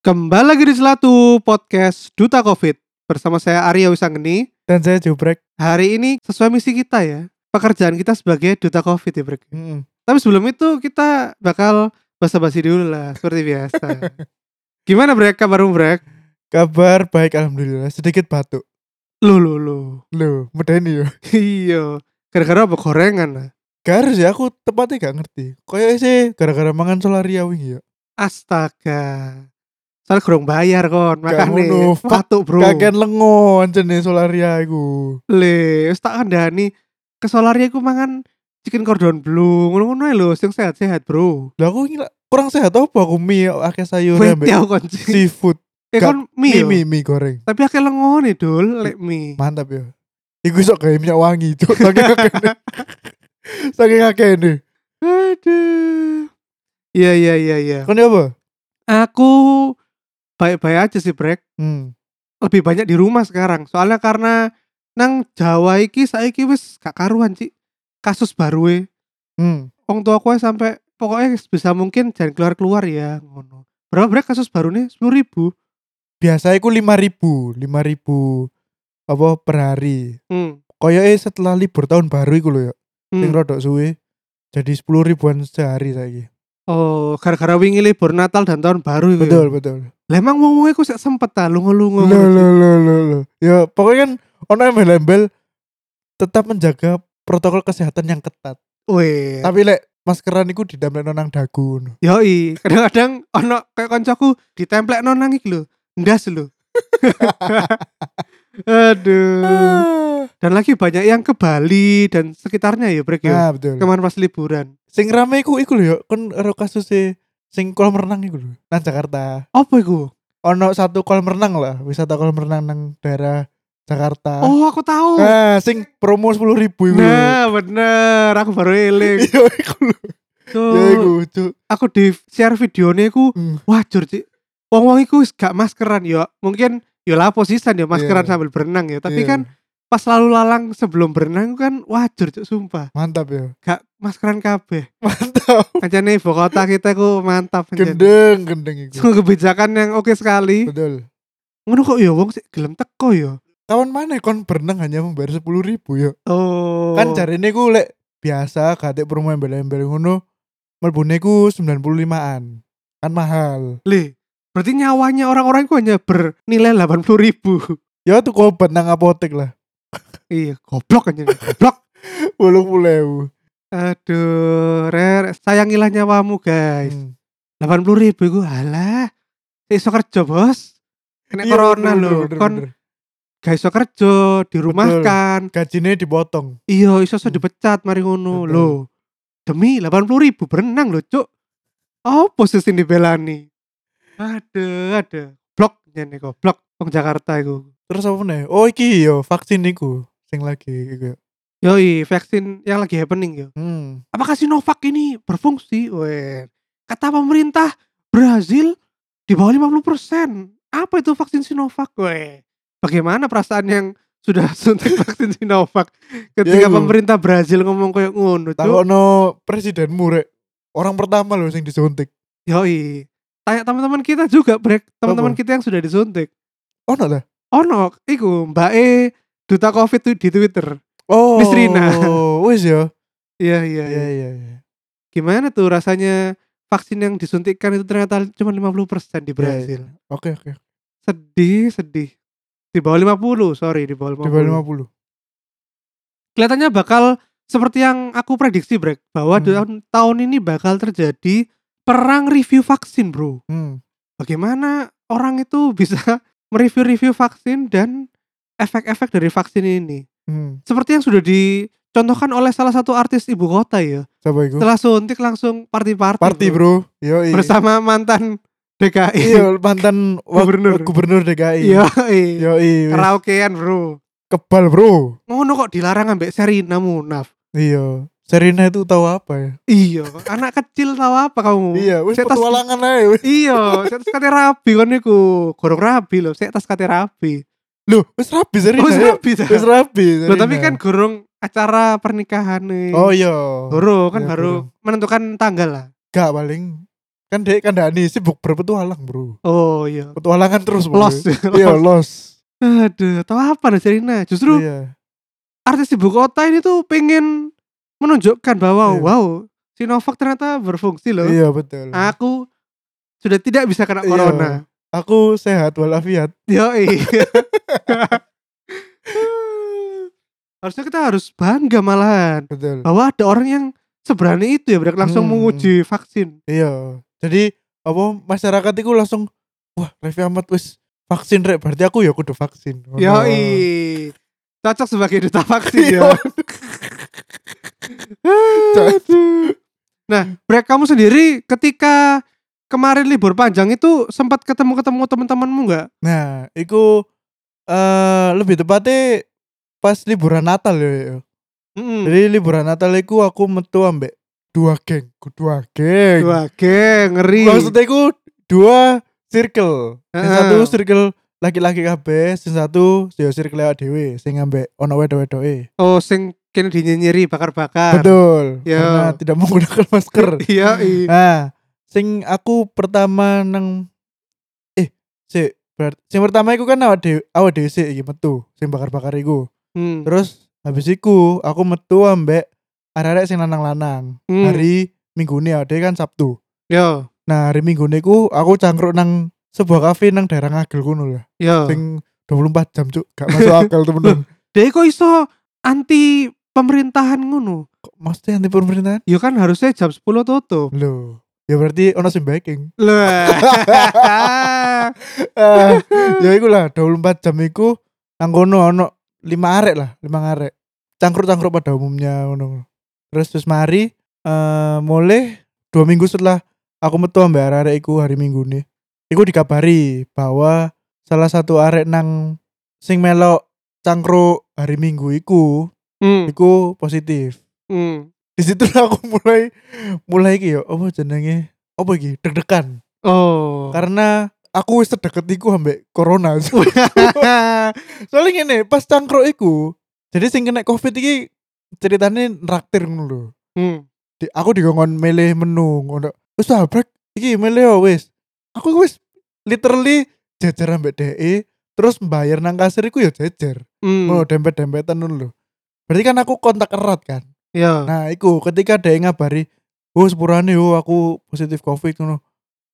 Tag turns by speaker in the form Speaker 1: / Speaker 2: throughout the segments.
Speaker 1: Kembali lagi di Selatu Podcast Duta Covid bersama saya Arya Wisanggeni.
Speaker 2: Dan saya jubrek.
Speaker 1: Hari ini sesuai misi kita ya, pekerjaan kita sebagai Duta Covid ya Brek.
Speaker 2: Mm-mm.
Speaker 1: Tapi sebelum itu kita bakal basa-basi dulu lah seperti biasa. Gimana Brek kabarmu Brek?
Speaker 2: Kabar baik alhamdulillah. Sedikit batuk.
Speaker 1: Lu lu lu.
Speaker 2: Loh, medeni ya.
Speaker 1: Iya. Gara-gara apa gorengan lah.
Speaker 2: Garis ya aku tepatnya gak ngerti. Kayak sih gara-gara mangan solaria wingi ya.
Speaker 1: Astaga. Soalnya kurang bayar kon,
Speaker 2: Gak
Speaker 1: makanya
Speaker 2: ngono, fuck.
Speaker 1: patuh bro.
Speaker 2: Kaken lengo jenis solaria iku.
Speaker 1: Le, wis tak kandhani ke solarnya aku mangan chicken cordon bleu, ngono-ngono ae lho, sing sehat-sehat, Bro.
Speaker 2: Lah aku ngila- kurang sehat apa aku mie akeh sayur
Speaker 1: Wait,
Speaker 2: ambek
Speaker 1: aku kunci.
Speaker 2: seafood.
Speaker 1: ya Eh
Speaker 2: gak-
Speaker 1: kon mie,
Speaker 2: Mie,
Speaker 1: yo.
Speaker 2: mie, mie goreng.
Speaker 1: tapi akeh lengone, Dul, lek mie.
Speaker 2: Mantap ya. Iku sok kayak minyak wangi, cuk. Saking akeh. Saking akeh ini.
Speaker 1: Aduh. Iya, iya, iya, iya.
Speaker 2: Kon apa?
Speaker 1: Aku baik-baik aja sih, Brek.
Speaker 2: Hmm.
Speaker 1: Lebih banyak di rumah sekarang. Soalnya karena nang Jawa iki saiki wis gak karuan, Cik. Kasus baru e.
Speaker 2: Hmm.
Speaker 1: Wong tua aku sampai pokoknya sebisa mungkin jangan keluar-keluar ya, ngono. Berapa Brek kasus baru nih? 10 ribu.
Speaker 2: Biasa iku 5000, 5000 apa per hari.
Speaker 1: Hmm.
Speaker 2: Koyoke eh, setelah libur tahun baru iku lho ya.
Speaker 1: Hmm.
Speaker 2: Sing rodok suwe. Jadi 10 ribuan sehari saiki.
Speaker 1: Oh, gara-gara wingi libur Natal dan tahun baru itu.
Speaker 2: Betul, betul.
Speaker 1: Lah emang wong wong iku sik sempet ta lungo-lungo. ngono,
Speaker 2: Lo
Speaker 1: Cik.
Speaker 2: lo lo lo lo. Ya pokoknya kan ono embel-embel tetap menjaga protokol kesehatan yang ketat.
Speaker 1: Weh.
Speaker 2: Tapi lek maskeran iku didamlekno nang dagu. ngono.
Speaker 1: Yoi, kadang-kadang ono kayak koncoku ditemplek non nangis lho, ndas lho. Aduh. Dan lagi banyak yang ke Bali dan sekitarnya ya, Brek ya.
Speaker 2: Nah, betul.
Speaker 1: Kemarin pas liburan.
Speaker 2: Sing rame iku iku lho ya, kon ero kasuse e, sing kolam renang iku lho. Nang Jakarta.
Speaker 1: Apa iku?
Speaker 2: Ono satu kolam renang lah, wisata kolam renang nang daerah Jakarta.
Speaker 1: Oh, aku tahu.
Speaker 2: Nah, sing promo 10.000 iku. lho.
Speaker 1: Nah, bener. Aku baru eling.
Speaker 2: Iya iku lho.
Speaker 1: Cuk,
Speaker 2: Ya iku, cuk.
Speaker 1: aku di share videonya iku
Speaker 2: Hmm.
Speaker 1: wajur cik wong wong iku wis gak maskeran ya mungkin ya lah posisian ya maskeran
Speaker 2: Iya.
Speaker 1: sambil berenang ya tapi
Speaker 2: Iya.
Speaker 1: kan pas lalu lalang sebelum berenang kan wajur cik sumpah
Speaker 2: mantap ya.
Speaker 1: gak maskeran kabeh
Speaker 2: Mantap.
Speaker 1: aja nih kota kita ku mantap anjane.
Speaker 2: Gendeng, gendeng iku.
Speaker 1: Sungguh kebijakan yang oke sekali
Speaker 2: Betul.
Speaker 1: ngono kok ya wong sik gelem teko ya
Speaker 2: Kawan mana kon berenang hanya membayar 10.000 ya.
Speaker 1: oh
Speaker 2: Kan jarine ku lek biasa gate promo embel-embel ngono mlebune ku 95-an. Kan mahal.
Speaker 1: le berarti nyawanya orang-orang itu hanya bernilai 80.000 ribu
Speaker 2: Ya tuh obat nang apotek lah.
Speaker 1: iya goblok aja goblok
Speaker 2: 80.000.
Speaker 1: aduh rere sayangilah nyawamu guys
Speaker 2: Hmm.
Speaker 1: delapan puluh ribu gue alah gak iso kerja bos kena
Speaker 2: Iya,
Speaker 1: corona
Speaker 2: bener,
Speaker 1: lho
Speaker 2: bener,
Speaker 1: kon
Speaker 2: bener.
Speaker 1: gak iso kerja dirumahkan
Speaker 2: gajine dipotong.
Speaker 1: iya iso iso
Speaker 2: Hmm.
Speaker 1: dipecat mari ngono
Speaker 2: Betul.
Speaker 1: lho demi delapan puluh ribu berenang lho cuk apa sih sing dibelani ada ada blok nih kok blok Wong Jakarta itu
Speaker 2: Terus apa nih? Oh iki yo vaksin iku sing lagi iku. ya.
Speaker 1: yoi vaksin yang lagi happening yo
Speaker 2: Hmm.
Speaker 1: apakah Sinovac ini berfungsi Weh, kata pemerintah Brazil di bawah 50% apa itu vaksin Sinovac Weh, bagaimana perasaan yang sudah suntik vaksin Sinovac ketika
Speaker 2: Iya, Bu.
Speaker 1: pemerintah Brazil ngomong kayak ngono Cuk?
Speaker 2: Takono presidenmu rek. Orang pertama loh sing disuntik.
Speaker 1: yoi tanya teman-teman kita juga brek teman-teman
Speaker 2: Apa?
Speaker 1: kita yang sudah disuntik
Speaker 2: Oh lah.
Speaker 1: ono iku mbak E duta covid tu- di Twitter
Speaker 2: Oh.
Speaker 1: Miss Rina.
Speaker 2: Wis ya.
Speaker 1: iya iya
Speaker 2: Iya
Speaker 1: iya
Speaker 2: iya iya.
Speaker 1: gimana tuh rasanya vaksin yang disuntikkan itu ternyata cuma 50% di
Speaker 2: Iya, iya.
Speaker 1: Brazil
Speaker 2: Oke oke.
Speaker 1: sedih sedih di bawah 50 sorry di bawah 50,
Speaker 2: Di bawah 50.
Speaker 1: kelihatannya bakal seperti yang aku prediksi Brek bahwa
Speaker 2: Hmm.
Speaker 1: tahun tahun ini bakal terjadi perang review vaksin bro
Speaker 2: Hmm.
Speaker 1: bagaimana orang itu bisa mereview-review vaksin dan efek-efek dari vaksin ini
Speaker 2: Hmm.
Speaker 1: seperti yang sudah dicontohkan oleh salah satu artis ibu kota ya
Speaker 2: Coba iku.
Speaker 1: setelah suntik langsung party-party
Speaker 2: Party
Speaker 1: bro.
Speaker 2: bro. Yo iya.
Speaker 1: bersama mantan DKI
Speaker 2: Iya mantan wak-
Speaker 1: gubernur
Speaker 2: gubernur DKI.
Speaker 1: iya
Speaker 2: Yo iya. wis.
Speaker 1: karaokean bro
Speaker 2: Kebal bro.
Speaker 1: ngono kok dilarang ambek Sherina Munaf
Speaker 2: Iya. Serena itu tahu apa ya?
Speaker 1: Iya, anak kecil tahu apa kamu?
Speaker 2: Iya,
Speaker 1: Hmm.
Speaker 2: wis
Speaker 1: Saya tas-
Speaker 2: petualangan aja. wis.
Speaker 1: Iya, saya tas kate rabi kon niku. Gorong rabi loh, saya tas kate rabi.
Speaker 2: Loh, wis rapi
Speaker 1: Oh,
Speaker 2: Serena.
Speaker 1: wis
Speaker 2: ya?
Speaker 1: rabi ta.
Speaker 2: Wis rapi.
Speaker 1: Loh,
Speaker 2: Serena.
Speaker 1: tapi kan gorong acara pernikahan nih.
Speaker 2: ya. Oh iya.
Speaker 1: Gorong kan
Speaker 2: Iya,
Speaker 1: baru menentukan tanggal lah.
Speaker 2: Gak paling kan dek kandani sibuk berpetualang, Bro.
Speaker 1: Oh iya.
Speaker 2: Petualangan terus, Bro.
Speaker 1: Los.
Speaker 2: Iya,
Speaker 1: los.
Speaker 2: los.
Speaker 1: Aduh, tahu apa nih Serena? Justru
Speaker 2: Iya.
Speaker 1: artis ibu kota ini tuh pengen menunjukkan bahwa
Speaker 2: Iya.
Speaker 1: wow, Sinovac ternyata berfungsi loh.
Speaker 2: Iya, betul.
Speaker 1: Aku sudah tidak bisa kena
Speaker 2: Iya.
Speaker 1: corona.
Speaker 2: Aku sehat walafiat.
Speaker 1: Yoi. Harusnya kita harus bangga malahan
Speaker 2: Betul.
Speaker 1: bahwa ada orang yang seberani itu ya berak langsung
Speaker 2: Hmm.
Speaker 1: menguji vaksin.
Speaker 2: Iya. Jadi apa masyarakat itu langsung wah, Raffi Ahmad wis vaksin rek, berarti aku ya kudu vaksin. Ngono.
Speaker 1: Yoi. Cocok sebagai duta vaksin ya.
Speaker 2: Iya. Cocok.
Speaker 1: nah, Brek kamu sendiri ketika kemarin libur panjang itu sempat ketemu-ketemu teman-temanmu nggak?
Speaker 2: Nah, iku eh lebih tepatnya pas liburan Natal ya. ya.
Speaker 1: Mm-mm.
Speaker 2: Jadi liburan Natal iku aku metu ambek dua geng, ku dua geng.
Speaker 1: Wah, geng, ngeri.
Speaker 2: Maksudnya iku dua circle. Sing
Speaker 1: Heeh.
Speaker 2: satu circle laki-laki kabeh, sing satu ya circle awake dhewe sing ambek ono wedok-wedoke.
Speaker 1: Oh, sing kene dinyinyiri bakar-bakar.
Speaker 2: Betul.
Speaker 1: Yo.
Speaker 2: Karena tidak menggunakan masker.
Speaker 1: Yoi.
Speaker 2: nah, sing aku pertama nang eh sik ber- sing pertama iku kan awak dhewe awak dhewe sik iki metu sing bakar-bakar iku.
Speaker 1: Hmm.
Speaker 2: Terus habis iku aku metu ambek arek-arek sing lanang-lanang.
Speaker 1: Hmm. ya,
Speaker 2: Hari Minggu ini ada kan Sabtu.
Speaker 1: Yo,
Speaker 2: Nah, hari Minggu ini ku aku cangkruk nang sebuah kafe nang daerah Ngagel kuno lah.
Speaker 1: yo.
Speaker 2: Sing 24 jam cuk, gak masuk akal temen-temen.
Speaker 1: Dia kok iso anti pemerintahan ngono?
Speaker 2: Kok maksudnya anti pemerintahan?
Speaker 1: Ya kan harusnya jam 10 tutup.
Speaker 2: Loh, ya berarti ono sing backing.
Speaker 1: Lah.
Speaker 2: Eh, ya iku lah 24 jam iku nang kono ono 5 arek lah, 5 arek. Cangkruk-cangkruk pada umumnya ngono. Terus terus mari eh mulai dua minggu setelah aku metu ambek arek-arek iku hari Minggu nih. Iku dikabari bahwa salah satu arek nang sing melok cangkruk hari Minggu iku
Speaker 1: Hmm,
Speaker 2: iku positif.
Speaker 1: hmm.
Speaker 2: Di situ lah aku mulai mulai iki ya apa jenenge? Apa iki? Deg-degan.
Speaker 1: Oh.
Speaker 2: karena aku wis deket iku ambek corona soalnya ngene pas cangkruk iku jadi sing kena covid iki ceritane nraktir ngono lho
Speaker 1: Hmm.
Speaker 2: Di- aku dikongkon milih menu ngono wis tabrek iki milih yo wis aku wis literally jejer ambek DE terus mbayar nang kasir iku ya jejer
Speaker 1: Hmm.
Speaker 2: ngono dempet-dempetan ngono lho berarti kan aku kontak erat kan
Speaker 1: Ya.
Speaker 2: Nah, iku ketika dia ngabari, "Oh, sepurane yo aku positif Covid ngono."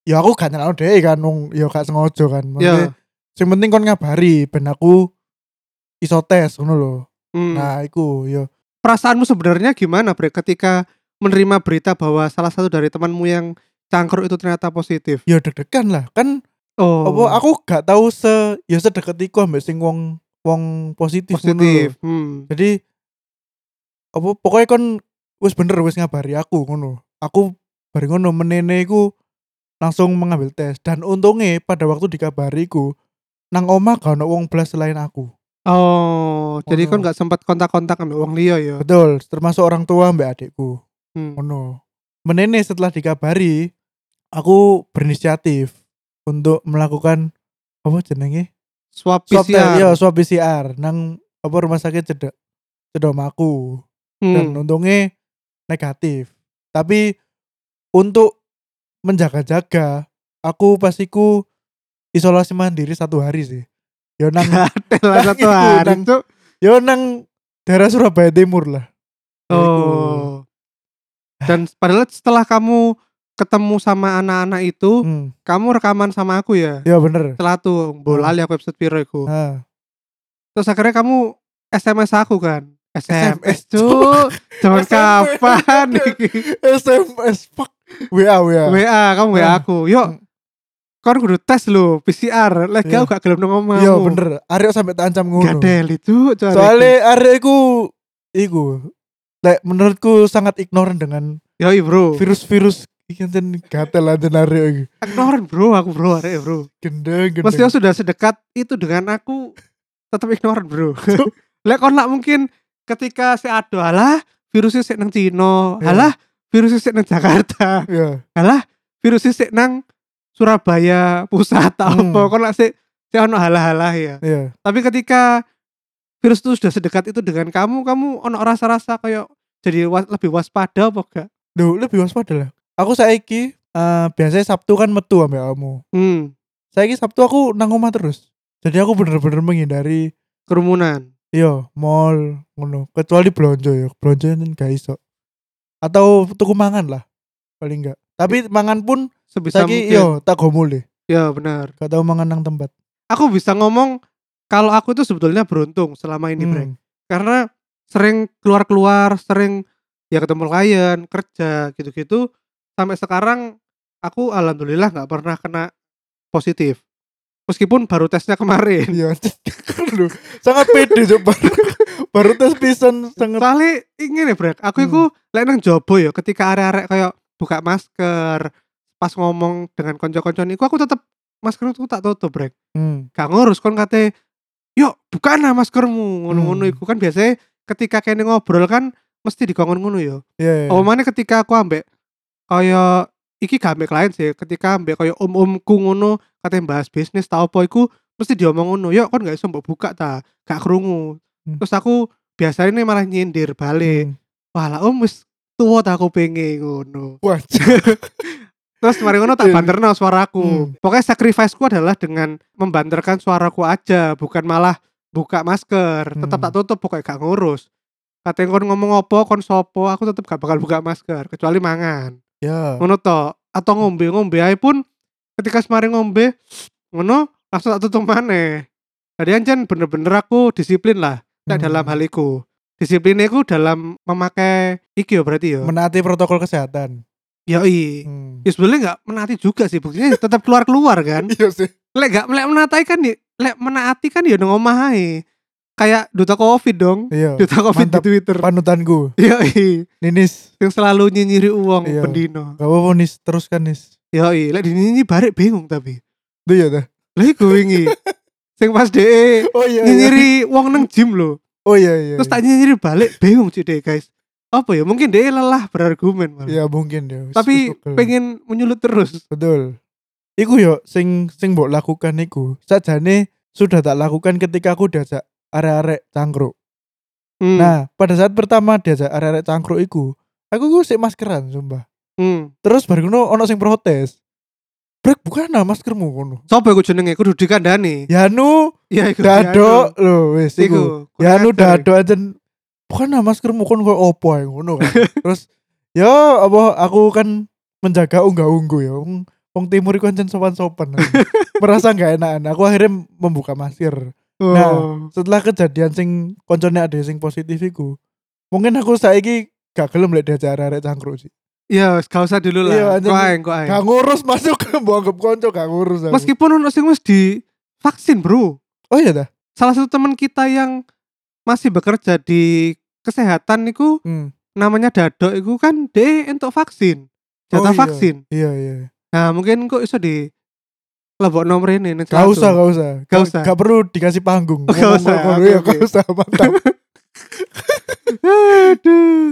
Speaker 2: Ya aku gak nyalano dhek kan wong ya gak sengaja kan.
Speaker 1: Ya.
Speaker 2: Maksudnya, Sing penting kon ngabari ben aku iso tes ngono lho.
Speaker 1: Hmm.
Speaker 2: Nah, iku yo
Speaker 1: Perasaanmu sebenarnya gimana, Bre, ketika menerima berita bahwa salah satu dari temanmu yang cangkruk itu ternyata positif?
Speaker 2: yo deg-degan lah. Kan
Speaker 1: Oh.
Speaker 2: apa aku gak tahu se yo sedekat iku ambek sing wong wong positif, ngono lho.
Speaker 1: positif. Hmm.
Speaker 2: Jadi apa pokoknya kon wis bener wis ngabari aku ngono. Aku bareng ngono menene iku langsung mengambil tes dan untungnya pada waktu dikabariku nang oma gak ono wong belas selain aku.
Speaker 1: Oh, jadi
Speaker 2: Ngono.
Speaker 1: kon nggak sempat kontak-kontak sama wong liya ya.
Speaker 2: Betul, termasuk orang tua mbak adikku.
Speaker 1: Hmm.
Speaker 2: Ngono. Menene setelah dikabari aku berinisiatif untuk melakukan apa jenenge?
Speaker 1: Swab
Speaker 2: Swab test,
Speaker 1: PCR.
Speaker 2: iya, swab PCR nang apa rumah sakit cedek. Cedok aku. dan
Speaker 1: Hmm.
Speaker 2: untungnya negatif. Tapi untuk menjaga-jaga, aku pastiku isolasi mandiri satu hari sih. Yo nang,
Speaker 1: Gatel lah
Speaker 2: Nang
Speaker 1: satu
Speaker 2: itu,
Speaker 1: hari,
Speaker 2: nang-
Speaker 1: Cuk.
Speaker 2: yo nang daerah Surabaya Timur lah. Ya iku.
Speaker 1: Oh. Dan padahal setelah kamu ketemu sama anak-anak itu,
Speaker 2: Hmm,
Speaker 1: kamu rekaman sama aku ya.
Speaker 2: ya bener.
Speaker 1: Setelah tuh bolali aku episode piro iku.
Speaker 2: Nah,
Speaker 1: Terus akhirnya kamu SMS aku kan.
Speaker 2: SMS,
Speaker 1: SMS tuh Zaman
Speaker 2: SMS.
Speaker 1: kapan iki?
Speaker 2: SMS fuck WA WA.
Speaker 1: WA, kamu WA
Speaker 2: Ah.
Speaker 1: aku. Yuk. Kon kudu tes lho PCR. Lek
Speaker 2: Iya.
Speaker 1: gak gak gelem nang omahmu.
Speaker 2: Yo bener. Aryo sampai tancam ngono.
Speaker 1: Gadel itu
Speaker 2: Soalnya Aryo iku iku lek menurutku sangat ignoran dengan
Speaker 1: Yoi bro
Speaker 2: virus-virus iki anjen gatel anjen Aryo iki.
Speaker 1: Ignoran bro aku bro arek bro
Speaker 2: Gendeng gendeng.
Speaker 1: Mas Tio sudah sedekat itu dengan aku tetap ignoran bro Lek kon lak mungkin ketika si aduh alah virusnya sik nang Cina.
Speaker 2: Iya.
Speaker 1: Halah, virusnya sik nang Jakarta.
Speaker 2: Iya.
Speaker 1: Halah, virusnya sik nang Surabaya pusat tak
Speaker 2: Hmm.
Speaker 1: apa. Kok nak sik sik ono halah-halah ya.
Speaker 2: Iya.
Speaker 1: Tapi ketika virus itu sudah sedekat itu dengan kamu, kamu ono rasa-rasa kayak jadi wa- lebih waspada apa enggak?
Speaker 2: Duh, lebih waspada lah. Aku saiki eh biasanya Sabtu kan metu ambek kamu.
Speaker 1: Hmm,
Speaker 2: Saiki Sabtu aku nang omah terus. Jadi aku bener-bener menghindari
Speaker 1: kerumunan.
Speaker 2: Iya, mall ngono. Kecuali blonjo ya, blonjo kan gak iso. Atau tuku mangan lah paling enggak. Tapi mangan pun
Speaker 1: Sebisa
Speaker 2: saiki
Speaker 1: mungkin.
Speaker 2: yo tak gomo le.
Speaker 1: Ya, benar.
Speaker 2: Gak tau mangan nang tempat.
Speaker 1: Aku bisa ngomong kalau aku itu sebetulnya beruntung selama ini, Brek.
Speaker 2: Hmm.
Speaker 1: karena sering keluar-keluar, sering ya ketemu klien, kerja gitu-gitu. Sampai sekarang aku alhamdulillah nggak pernah kena positif. Meskipun baru tesnya kemarin.
Speaker 2: Iya. Aduh, sangat pede coba. Baru tes pisan sangat Hmm.
Speaker 1: Soalnya ingin ya Brek, aku itu lek nang jobo ya ketika arek-arek kayak buka masker, pas ngomong dengan konco-konco niku aku tetep masker itu tak tutup Brek.
Speaker 2: Hmm.
Speaker 1: Gak ngurus kon kate yuk bukan lah maskermu ngono-ngono
Speaker 2: Hmm.
Speaker 1: iku kan biasanya ketika kene ngobrol kan mesti dikongon ngono ya.
Speaker 2: Iya. iya.
Speaker 1: Oh mana ketika aku ambek kaya iki gak ambek klien sih ketika ambek kaya om-omku ngono katanya bahas bisnis tau apa iku mesti diomong ngono yo kon gak iso mbok buka ta gak kerungu
Speaker 2: Hmm.
Speaker 1: terus aku biasanya nih malah nyindir balik
Speaker 2: Hmm.
Speaker 1: wah lah om wis tuwa ta aku pengen ngono
Speaker 2: Wah,
Speaker 1: terus kemarin ngono tak
Speaker 2: Iya.
Speaker 1: banterno suaraku
Speaker 2: Hmm.
Speaker 1: pokoknya sacrifice ku adalah dengan membanterkan suaraku aja bukan malah buka masker tetap
Speaker 2: Hmm.
Speaker 1: tak tutup pokoknya gak ngurus katanya kon ngomong apa kon sopo aku tetap gak bakal buka masker kecuali mangan
Speaker 2: ya.
Speaker 1: Oh. ngono to atau ngombe ngombe ae pun ketika semarin ngombe ngono langsung tak tutup maneh jadi anjen bener-bener aku disiplin lah Nah,
Speaker 2: Hmm.
Speaker 1: dalam hal iku disiplin iku dalam memakai iki yo berarti yo
Speaker 2: Menaati protokol kesehatan.
Speaker 1: yoi
Speaker 2: Hmm.
Speaker 1: ya sebenarnya nggak menati juga sih buktinya ya tetap keluar keluar kan
Speaker 2: Iya sih.
Speaker 1: lek nggak lek menatai kan ya- lek menaati kan ya nang omah ae. kayak duta covid dong
Speaker 2: Iya.
Speaker 1: duta covid
Speaker 2: Mantap.
Speaker 1: di twitter
Speaker 2: Panutanku,
Speaker 1: yoi
Speaker 2: Ninis.
Speaker 1: yang selalu nyinyiri uang
Speaker 2: Iya.
Speaker 1: pendino
Speaker 2: Gak apa-apa Nis, teruskan Nis.
Speaker 1: yoi lek dinyinyiri barek bingung tapi
Speaker 2: Itu ya dah.
Speaker 1: Lah iku wingi. Sing pas DE
Speaker 2: Oh iya. iya.
Speaker 1: nyinyiri wong nang gym lho.
Speaker 2: Oh iya iya.
Speaker 1: Terus
Speaker 2: iya.
Speaker 1: tak nyinyiri balik bingung sih DE guys. Apa ya? Mungkin DE lelah berargumen malah.
Speaker 2: Ya mungkin ya.
Speaker 1: Tapi
Speaker 2: Betul.
Speaker 1: pengen menyulut terus.
Speaker 2: betul. Iku yo sing sing mbok lakukan iku. Sajane sudah tak lakukan ketika aku diajak arek-arek cangkruk.
Speaker 1: Hmm,
Speaker 2: Nah, pada saat pertama diajak arek-arek cangkruk iku, aku ku sik maskeran sumpah.
Speaker 1: hmm.
Speaker 2: Terus baru ngono ono sing protes. Brek bukan nah maskermu ngono.
Speaker 1: Sopo iku jenenge kudu dikandani.
Speaker 2: Yanu
Speaker 1: Ya iku.
Speaker 2: dado lho wis iku.
Speaker 1: Iku.
Speaker 2: ya nu
Speaker 1: kurang ajar.
Speaker 2: dado aja bukan nah maskermu kan kok opo ae ngono kan terus ya apa aku kan menjaga unggah unggu ya wong wong timur iku ancen sopan-sopan merasa nggak enakan aku akhirnya membuka masker
Speaker 1: Oh.
Speaker 2: Nah. setelah kejadian sing koncone ada sing positif iku mungkin aku saiki gak gelem lek diajak arek cangkruk sih
Speaker 1: Ya, wis, gak usah dulu lah.
Speaker 2: Iya, anjing.
Speaker 1: Kok aeng, kok aeng.
Speaker 2: gak ngurus masuk ke mbok anggap konco gak ngurus aku.
Speaker 1: Meskipun ono sing wis di vaksin, Bro.
Speaker 2: oh iya dah
Speaker 1: Salah satu teman kita yang masih bekerja di kesehatan niku
Speaker 2: hmm.
Speaker 1: namanya Dado itu kan DE untuk vaksin jatah
Speaker 2: Oh, iya.
Speaker 1: vaksin
Speaker 2: iya iya
Speaker 1: nah mungkin kok iso di lebok nomor ini nih,
Speaker 2: gak
Speaker 1: satu.
Speaker 2: usah gak usah
Speaker 1: Gak usah.
Speaker 2: gak perlu dikasih panggung
Speaker 1: Gak
Speaker 2: Ngomong
Speaker 1: usah,
Speaker 2: kono-kono,
Speaker 1: oke,
Speaker 2: iya,
Speaker 1: oke.
Speaker 2: gak usah mantap
Speaker 1: aduh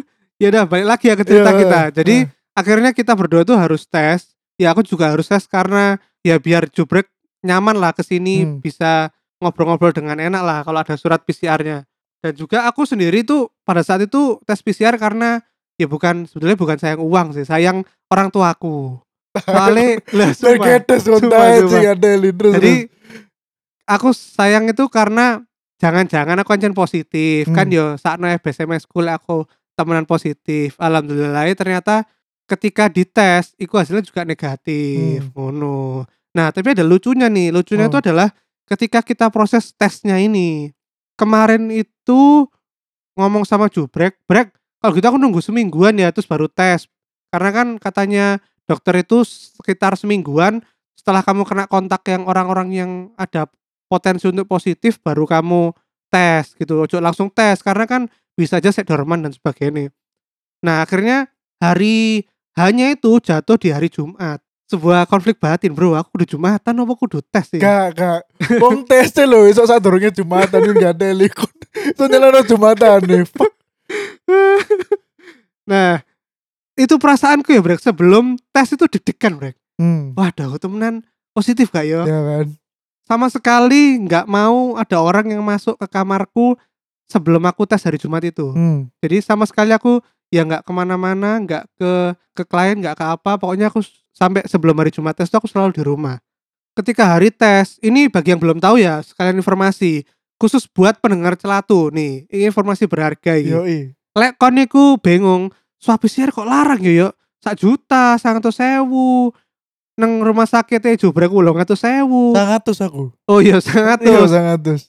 Speaker 1: ya udah balik lagi ya ke cerita
Speaker 2: Iya,
Speaker 1: kita jadi
Speaker 2: iya.
Speaker 1: akhirnya kita berdua tuh harus tes ya aku juga harus tes karena ya biar jubrek nyaman lah kesini
Speaker 2: Hmm.
Speaker 1: bisa ngobrol-ngobrol dengan enak lah kalau ada surat PCR-nya dan juga aku sendiri tuh pada saat itu tes PCR karena ya bukan sebetulnya bukan sayang uang sih sayang orang tuaku soalnya lah sumpah.
Speaker 2: Legendes
Speaker 1: Sumpah,
Speaker 2: kontai
Speaker 1: sumpah.
Speaker 2: sing ada Lin. terus.
Speaker 1: Jadi aku sayang itu karena jangan-jangan aku ancen positif kan
Speaker 2: Hmm.
Speaker 1: yo saat SMS school aku temenan positif. Alhamdulillah ya ternyata ketika dites itu hasilnya juga negatif.
Speaker 2: Hmm.
Speaker 1: Ngono. Nah, tapi ada lucunya nih. Lucunya
Speaker 2: Oh.
Speaker 1: itu adalah ketika kita proses tesnya ini. Kemarin itu ngomong sama Jubrek, Brek, kalau gitu aku nunggu semingguan ya terus baru tes. Karena kan katanya dokter itu sekitar semingguan setelah kamu kena kontak yang orang-orang yang ada potensi untuk positif baru kamu tes gitu ojo langsung tes karena kan bisa aja sek dorman dan sebagainya nah akhirnya hari hanya itu jatuh di hari Jumat sebuah konflik batin bro aku udah Jumatan apa kudu tes ya?" sih
Speaker 2: gak gak wong tes lho iso sadurunge Jumatan iki gak ada Lin. Iso nyelana Jumatan nih. Fuck.
Speaker 1: Nah, itu perasaanku ya, Brek. Sebelum tes itu deg-degan, Brek.
Speaker 2: Hmm.
Speaker 1: Waduh, temenan positif gak ya?
Speaker 2: Ya kan.
Speaker 1: Sama sekali nggak mau ada orang yang masuk ke kamarku sebelum aku tes hari Jumat itu.
Speaker 2: Hmm.
Speaker 1: Jadi sama sekali aku ya nggak kemana-mana, nggak ke ke klien, nggak ke apa. Pokoknya aku s- sampai sebelum hari Jumat tes tuh aku selalu di rumah. Ketika hari tes, ini bagi yang belum tahu ya sekalian informasi khusus buat pendengar celatu nih. Ini informasi berharga ya.
Speaker 2: Yoi.
Speaker 1: Lek kon niku bingung, swab PCR kok larang ya yo. Sak juta, sang sewu. Neng rumah sakit e jubrek ulung atau sewu.
Speaker 2: Sangatus aku.
Speaker 1: Oh iya sangat tuh.
Speaker 2: Iya sangatus.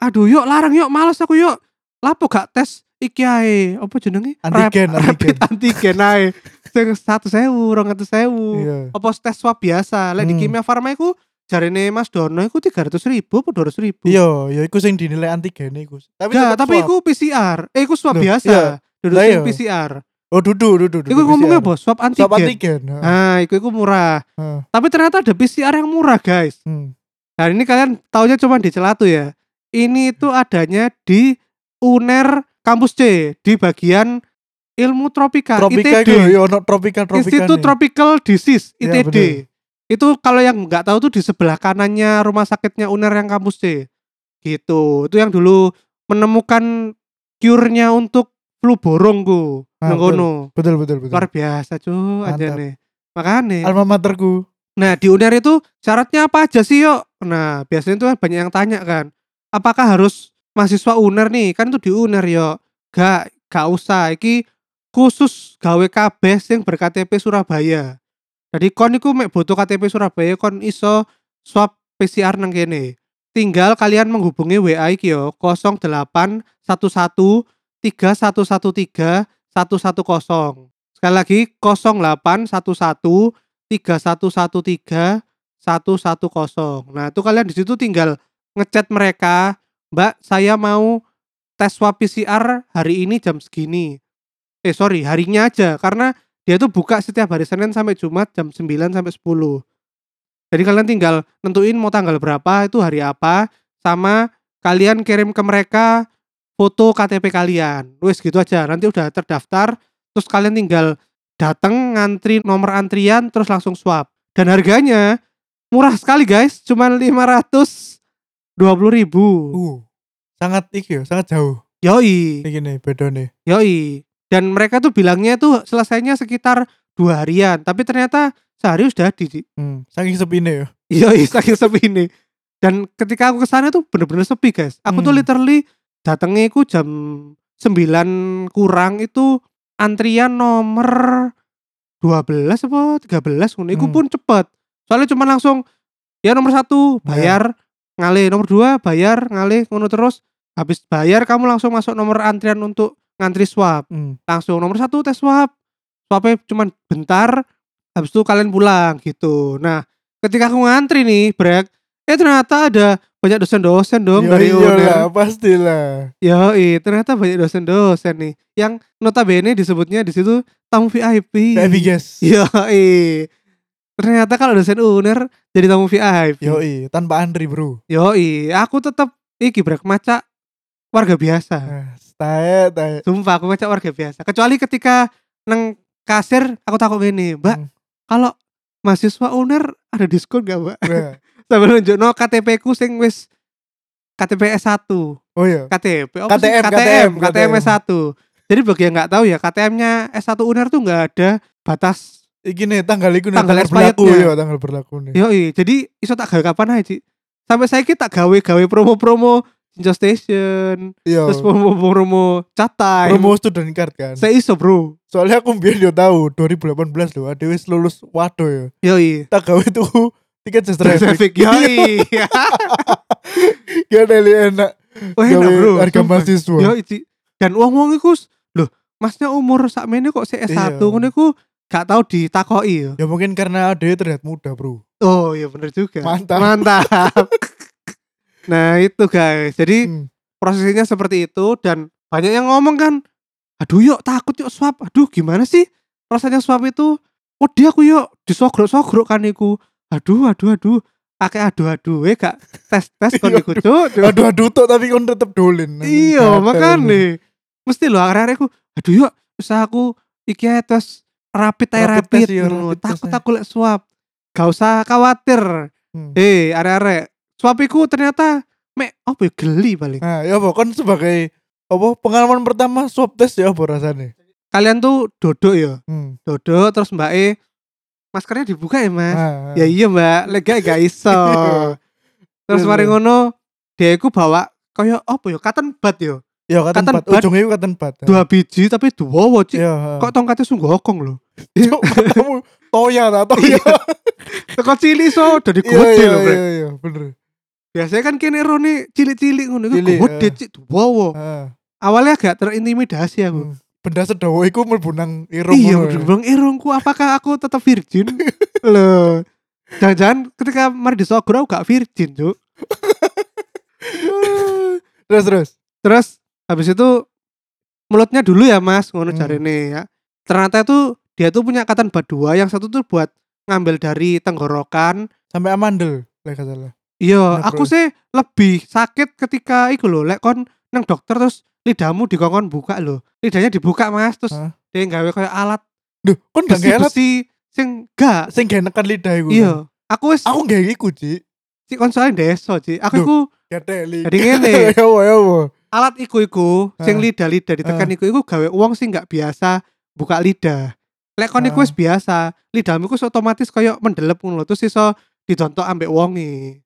Speaker 1: Aduh yuk larang yuk males aku yuk. Lapo gak tes iki ae. Apa jenenge? Rap-
Speaker 2: Antigen, antigen.
Speaker 1: Rapid antigen ae. Sing 100.000, 200.000.
Speaker 2: Iya.
Speaker 1: Apa tes swab biasa? Lek di
Speaker 2: Hmm.
Speaker 1: Kimia Farma iku jarine Mas Dono iku 300.000 apa 200.000?
Speaker 2: Iya, ya iku sing dinilai antigen iku. Tapi
Speaker 1: Gak,
Speaker 2: tetep
Speaker 1: tapi
Speaker 2: swab.
Speaker 1: iku PCR. Eh iku swab
Speaker 2: Loh,
Speaker 1: biasa. Duduk
Speaker 2: Lah
Speaker 1: sing
Speaker 2: iya.
Speaker 1: PCR.
Speaker 2: Oh, dudu, dudu, dudu.
Speaker 1: Iku ngomongnya
Speaker 2: PCR.
Speaker 1: apa? Swab antigen.
Speaker 2: Swab antigen. ha.
Speaker 1: Nah, iku iku murah.
Speaker 2: Heeh.
Speaker 1: Tapi ternyata ada PCR yang murah, guys.
Speaker 2: Hmm.
Speaker 1: Nah, ini kalian taunya cuma di Celatu ya. Ini itu
Speaker 2: Hmm.
Speaker 1: adanya di UNER kampus C di bagian Ilmu Tropika,
Speaker 2: Tropika
Speaker 1: ITD.
Speaker 2: iku ya ono tropika tropika.
Speaker 1: Institut Tropical Disease
Speaker 2: Iya,
Speaker 1: ITD. itu kalau yang nggak tahu tuh di sebelah kanannya rumah sakitnya UNER yang kampus C. Gitu. Itu yang dulu menemukan cure-nya untuk flu borong ku.
Speaker 2: Ah,
Speaker 1: Nang kono.
Speaker 2: Betul, betul, betul.
Speaker 1: Luar biasa, cuy,
Speaker 2: Mantap.
Speaker 1: aja nih. Makanya.
Speaker 2: Alma materku.
Speaker 1: Nah di UNER itu syaratnya apa aja sih yuk? Nah biasanya itu kan banyak yang tanya kan Apakah harus mahasiswa UNER nih? Kan itu di UNER yuk Gak, gak usah Iki khusus gawe kabeh yang berKTP Surabaya Jadi kon iku mek butuh KTP Surabaya kon iso swab PCR nang kene Tinggal kalian menghubungi WA iki yo 0811 3113 110 Sekali lagi 0811 3113 110. Nah, itu kalian di situ tinggal ngechat mereka, "Mbak, saya mau tes swab PCR hari ini jam segini." Eh, sorry, harinya aja karena dia tuh buka setiap hari Senin sampai Jumat jam 9 sampai 10. Jadi kalian tinggal nentuin mau tanggal berapa, itu hari apa, sama kalian kirim ke mereka foto KTP kalian. Wes gitu aja. Nanti udah terdaftar, terus kalian tinggal datang ngantri nomor antrian terus langsung swab dan harganya murah sekali guys cuman 500 ribu
Speaker 2: Uh. Sangat iki ya, sangat jauh.
Speaker 1: yoi
Speaker 2: Iki nih bedone.
Speaker 1: yoi dan mereka tuh bilangnya tuh selesainya sekitar dua harian tapi ternyata sehari sudah di
Speaker 2: Hmm. Saking sepine ya.
Speaker 1: yoi saking Iya, sepi ini dan ketika aku kesana tuh bener-bener sepi guys aku tuh
Speaker 2: Hmm.
Speaker 1: literally datangnya aku jam 9 kurang itu antrian nomor 12 apa 13 ngono. Iku
Speaker 2: Hmm.
Speaker 1: pun cepet. Soalnya cuma langsung ya nomor satu bayar
Speaker 2: Ya.
Speaker 1: ngale, nomor dua bayar ngale ngono terus habis bayar kamu langsung masuk nomor antrian untuk ngantri swab.
Speaker 2: Hmm.
Speaker 1: Langsung nomor satu tes swab. Swabnya cuma bentar habis itu kalian pulang gitu. Nah, ketika aku ngantri nih, Brek, eh ternyata ada banyak dosen-dosen dong
Speaker 2: Ya
Speaker 1: dari UNER.
Speaker 2: iyalah, pastilah.
Speaker 1: Yoi, ternyata banyak dosen-dosen nih yang notabene disebutnya di situ tamu VIP.
Speaker 2: Saya guys.
Speaker 1: Yoi. Ternyata kalau dosen UNER jadi tamu VIP.
Speaker 2: Yoi, tanpa antri, Bro.
Speaker 1: Yoi, aku tetap iki brek maca warga biasa.
Speaker 2: Nah, tae tae.
Speaker 1: Sumpah aku maca warga biasa. Kecuali ketika neng kasir aku takut gini, Mbak,
Speaker 2: Hmm.
Speaker 1: kalau mahasiswa UNER ada diskon gak, Mbak?
Speaker 2: Nah.
Speaker 1: Sambil nunjukno KTP ku sing wis KTP S1.
Speaker 2: Oh iya.
Speaker 1: KTP apa sih?
Speaker 2: KTM,
Speaker 1: KTM,
Speaker 2: KTM.
Speaker 1: KTM S1 jadi bagi yang nggak tahu ya KTM-nya S1 UNER tuh nggak ada batas
Speaker 2: Iki nih tanggal iku nih,
Speaker 1: Tanggal Iya.
Speaker 2: berlaku
Speaker 1: expirednya.
Speaker 2: ya, tanggal berlaku nih.
Speaker 1: yoi jadi iso tak gawe kapan aja Ci. sampai saya kita gawe gawe promo-promo Jinjo Station
Speaker 2: Iya.
Speaker 1: terus promo-promo cat time
Speaker 2: Promo student card kan.
Speaker 1: saya iso bro
Speaker 2: Soalnya aku biar dia tahu 2018 loh, Dewi lulus waduh ya.
Speaker 1: yoi
Speaker 2: Tak gawe tuh tiket just traffic.
Speaker 1: Traffic yoi
Speaker 2: iya. Gak ada yang Ya, enak.
Speaker 1: oh enak
Speaker 2: Gawe
Speaker 1: bro
Speaker 2: harga
Speaker 1: sumpah.
Speaker 2: mahasiswa.
Speaker 1: Yoi Ci. dan uang-uang itu loh masnya umur sakmene kok si S1
Speaker 2: Iya.
Speaker 1: ngono iku gak tau ditakoi ya
Speaker 2: Ya mungkin karena dia terlihat muda, Bro.
Speaker 1: Oh iya bener juga.
Speaker 2: Mantap.
Speaker 1: Mantap. nah itu guys. Jadi
Speaker 2: Hmm.
Speaker 1: prosesnya seperti itu dan banyak yang ngomong kan, aduh yuk takut yuk swab. Aduh gimana sih rasanya swab itu? Oh dia aku yuk disogrok-sogrok kan iku. Aduh aduh aduh. Akeh aduh aduh. Eh gak tes tes kon
Speaker 2: Iya,
Speaker 1: iku cuk.
Speaker 2: Aduh aduh tok tapi kon tetep dolin. Nah, gitu.
Speaker 1: Iya
Speaker 2: Gatel.
Speaker 1: makanya. Mesti loh akhir-akhir aku, aduh yuk usaha aku iki ae tes rapid ae
Speaker 2: Rapid
Speaker 1: rapid,
Speaker 2: test, iya,
Speaker 1: ngono.
Speaker 2: rapid
Speaker 1: takut
Speaker 2: test-nya.
Speaker 1: aku lek swab gak usah khawatir
Speaker 2: Hmm.
Speaker 1: eh arek-arek swab iku ternyata mek apa ya geli paling
Speaker 2: Nah, ya apa kan sebagai apa pengalaman pertama swab test ya apa rasanya?
Speaker 1: kalian tuh dodok ya
Speaker 2: Hmm.
Speaker 1: dodok terus mbak E maskernya dibuka ya mas
Speaker 2: Nah,
Speaker 1: ya iya mbak lega gak iso terus
Speaker 2: Iya,
Speaker 1: mari
Speaker 2: iya.
Speaker 1: ngono dia iku bawa kaya apa ya cotton bud ya
Speaker 2: ya katan
Speaker 1: Cotton
Speaker 2: bat.
Speaker 1: bud.
Speaker 2: Ujungnya itu katan bat.
Speaker 1: dua biji tapi dua wajib
Speaker 2: Ya.
Speaker 1: kok tongkatnya sungguh hokong loh
Speaker 2: Cuk, kamu toya tak
Speaker 1: Iya,
Speaker 2: toya.
Speaker 1: teko cilik so dari
Speaker 2: Iya
Speaker 1: gede
Speaker 2: iya
Speaker 1: loh Bre.
Speaker 2: iya iya bener.
Speaker 1: biasanya kan kene rone cilik-cilik ngono iku
Speaker 2: Cilik,
Speaker 1: gede
Speaker 2: eh.
Speaker 1: cik dua
Speaker 2: Ah,
Speaker 1: awalnya agak terintimidasi aku
Speaker 2: hmm. Benda sedawa iku mlebu nang irung.
Speaker 1: iya
Speaker 2: ngono ya.
Speaker 1: udah bilang irungku apakah aku tetap virgin loh jangan-jangan ketika mari disogro aku gak virgin cuk
Speaker 2: Terus terus.
Speaker 1: Terus habis itu mulutnya dulu ya mas ngono
Speaker 2: Hmm.
Speaker 1: cari nih ya. Ternyata itu dia tuh punya katan bad dua yang satu tuh buat ngambil dari tenggorokan.
Speaker 2: Sampai amandel, lek gak salah.
Speaker 1: Iya,
Speaker 2: Nah,
Speaker 1: aku
Speaker 2: bro.
Speaker 1: sih lebih sakit ketika iku loh, lek kon nang dokter terus lidahmu dikongkon buka loh. Lidahnya dibuka mas, terus
Speaker 2: Hah?
Speaker 1: dia gawe kayak alat
Speaker 2: Duh, kan gak ngelak
Speaker 1: besi-besi sing gak.
Speaker 2: sing gak nekan lidah iku.
Speaker 1: Iya, aku wis
Speaker 2: Aku gak iku, Ci.
Speaker 1: sih kon soalnya deso sih. Aku
Speaker 2: Duh.
Speaker 1: iku
Speaker 2: Ya teli.
Speaker 1: jadi ngene.
Speaker 2: Ya apa ya apa.
Speaker 1: alat iku iku sing
Speaker 2: Ah.
Speaker 1: lidah lidah ditekan iku iku gawe uang sing nggak biasa buka lidah lek kon iku wis biasa lidahmu iku wis otomatis koyo mendelep ngono lho, terus iso didontok ambek wonge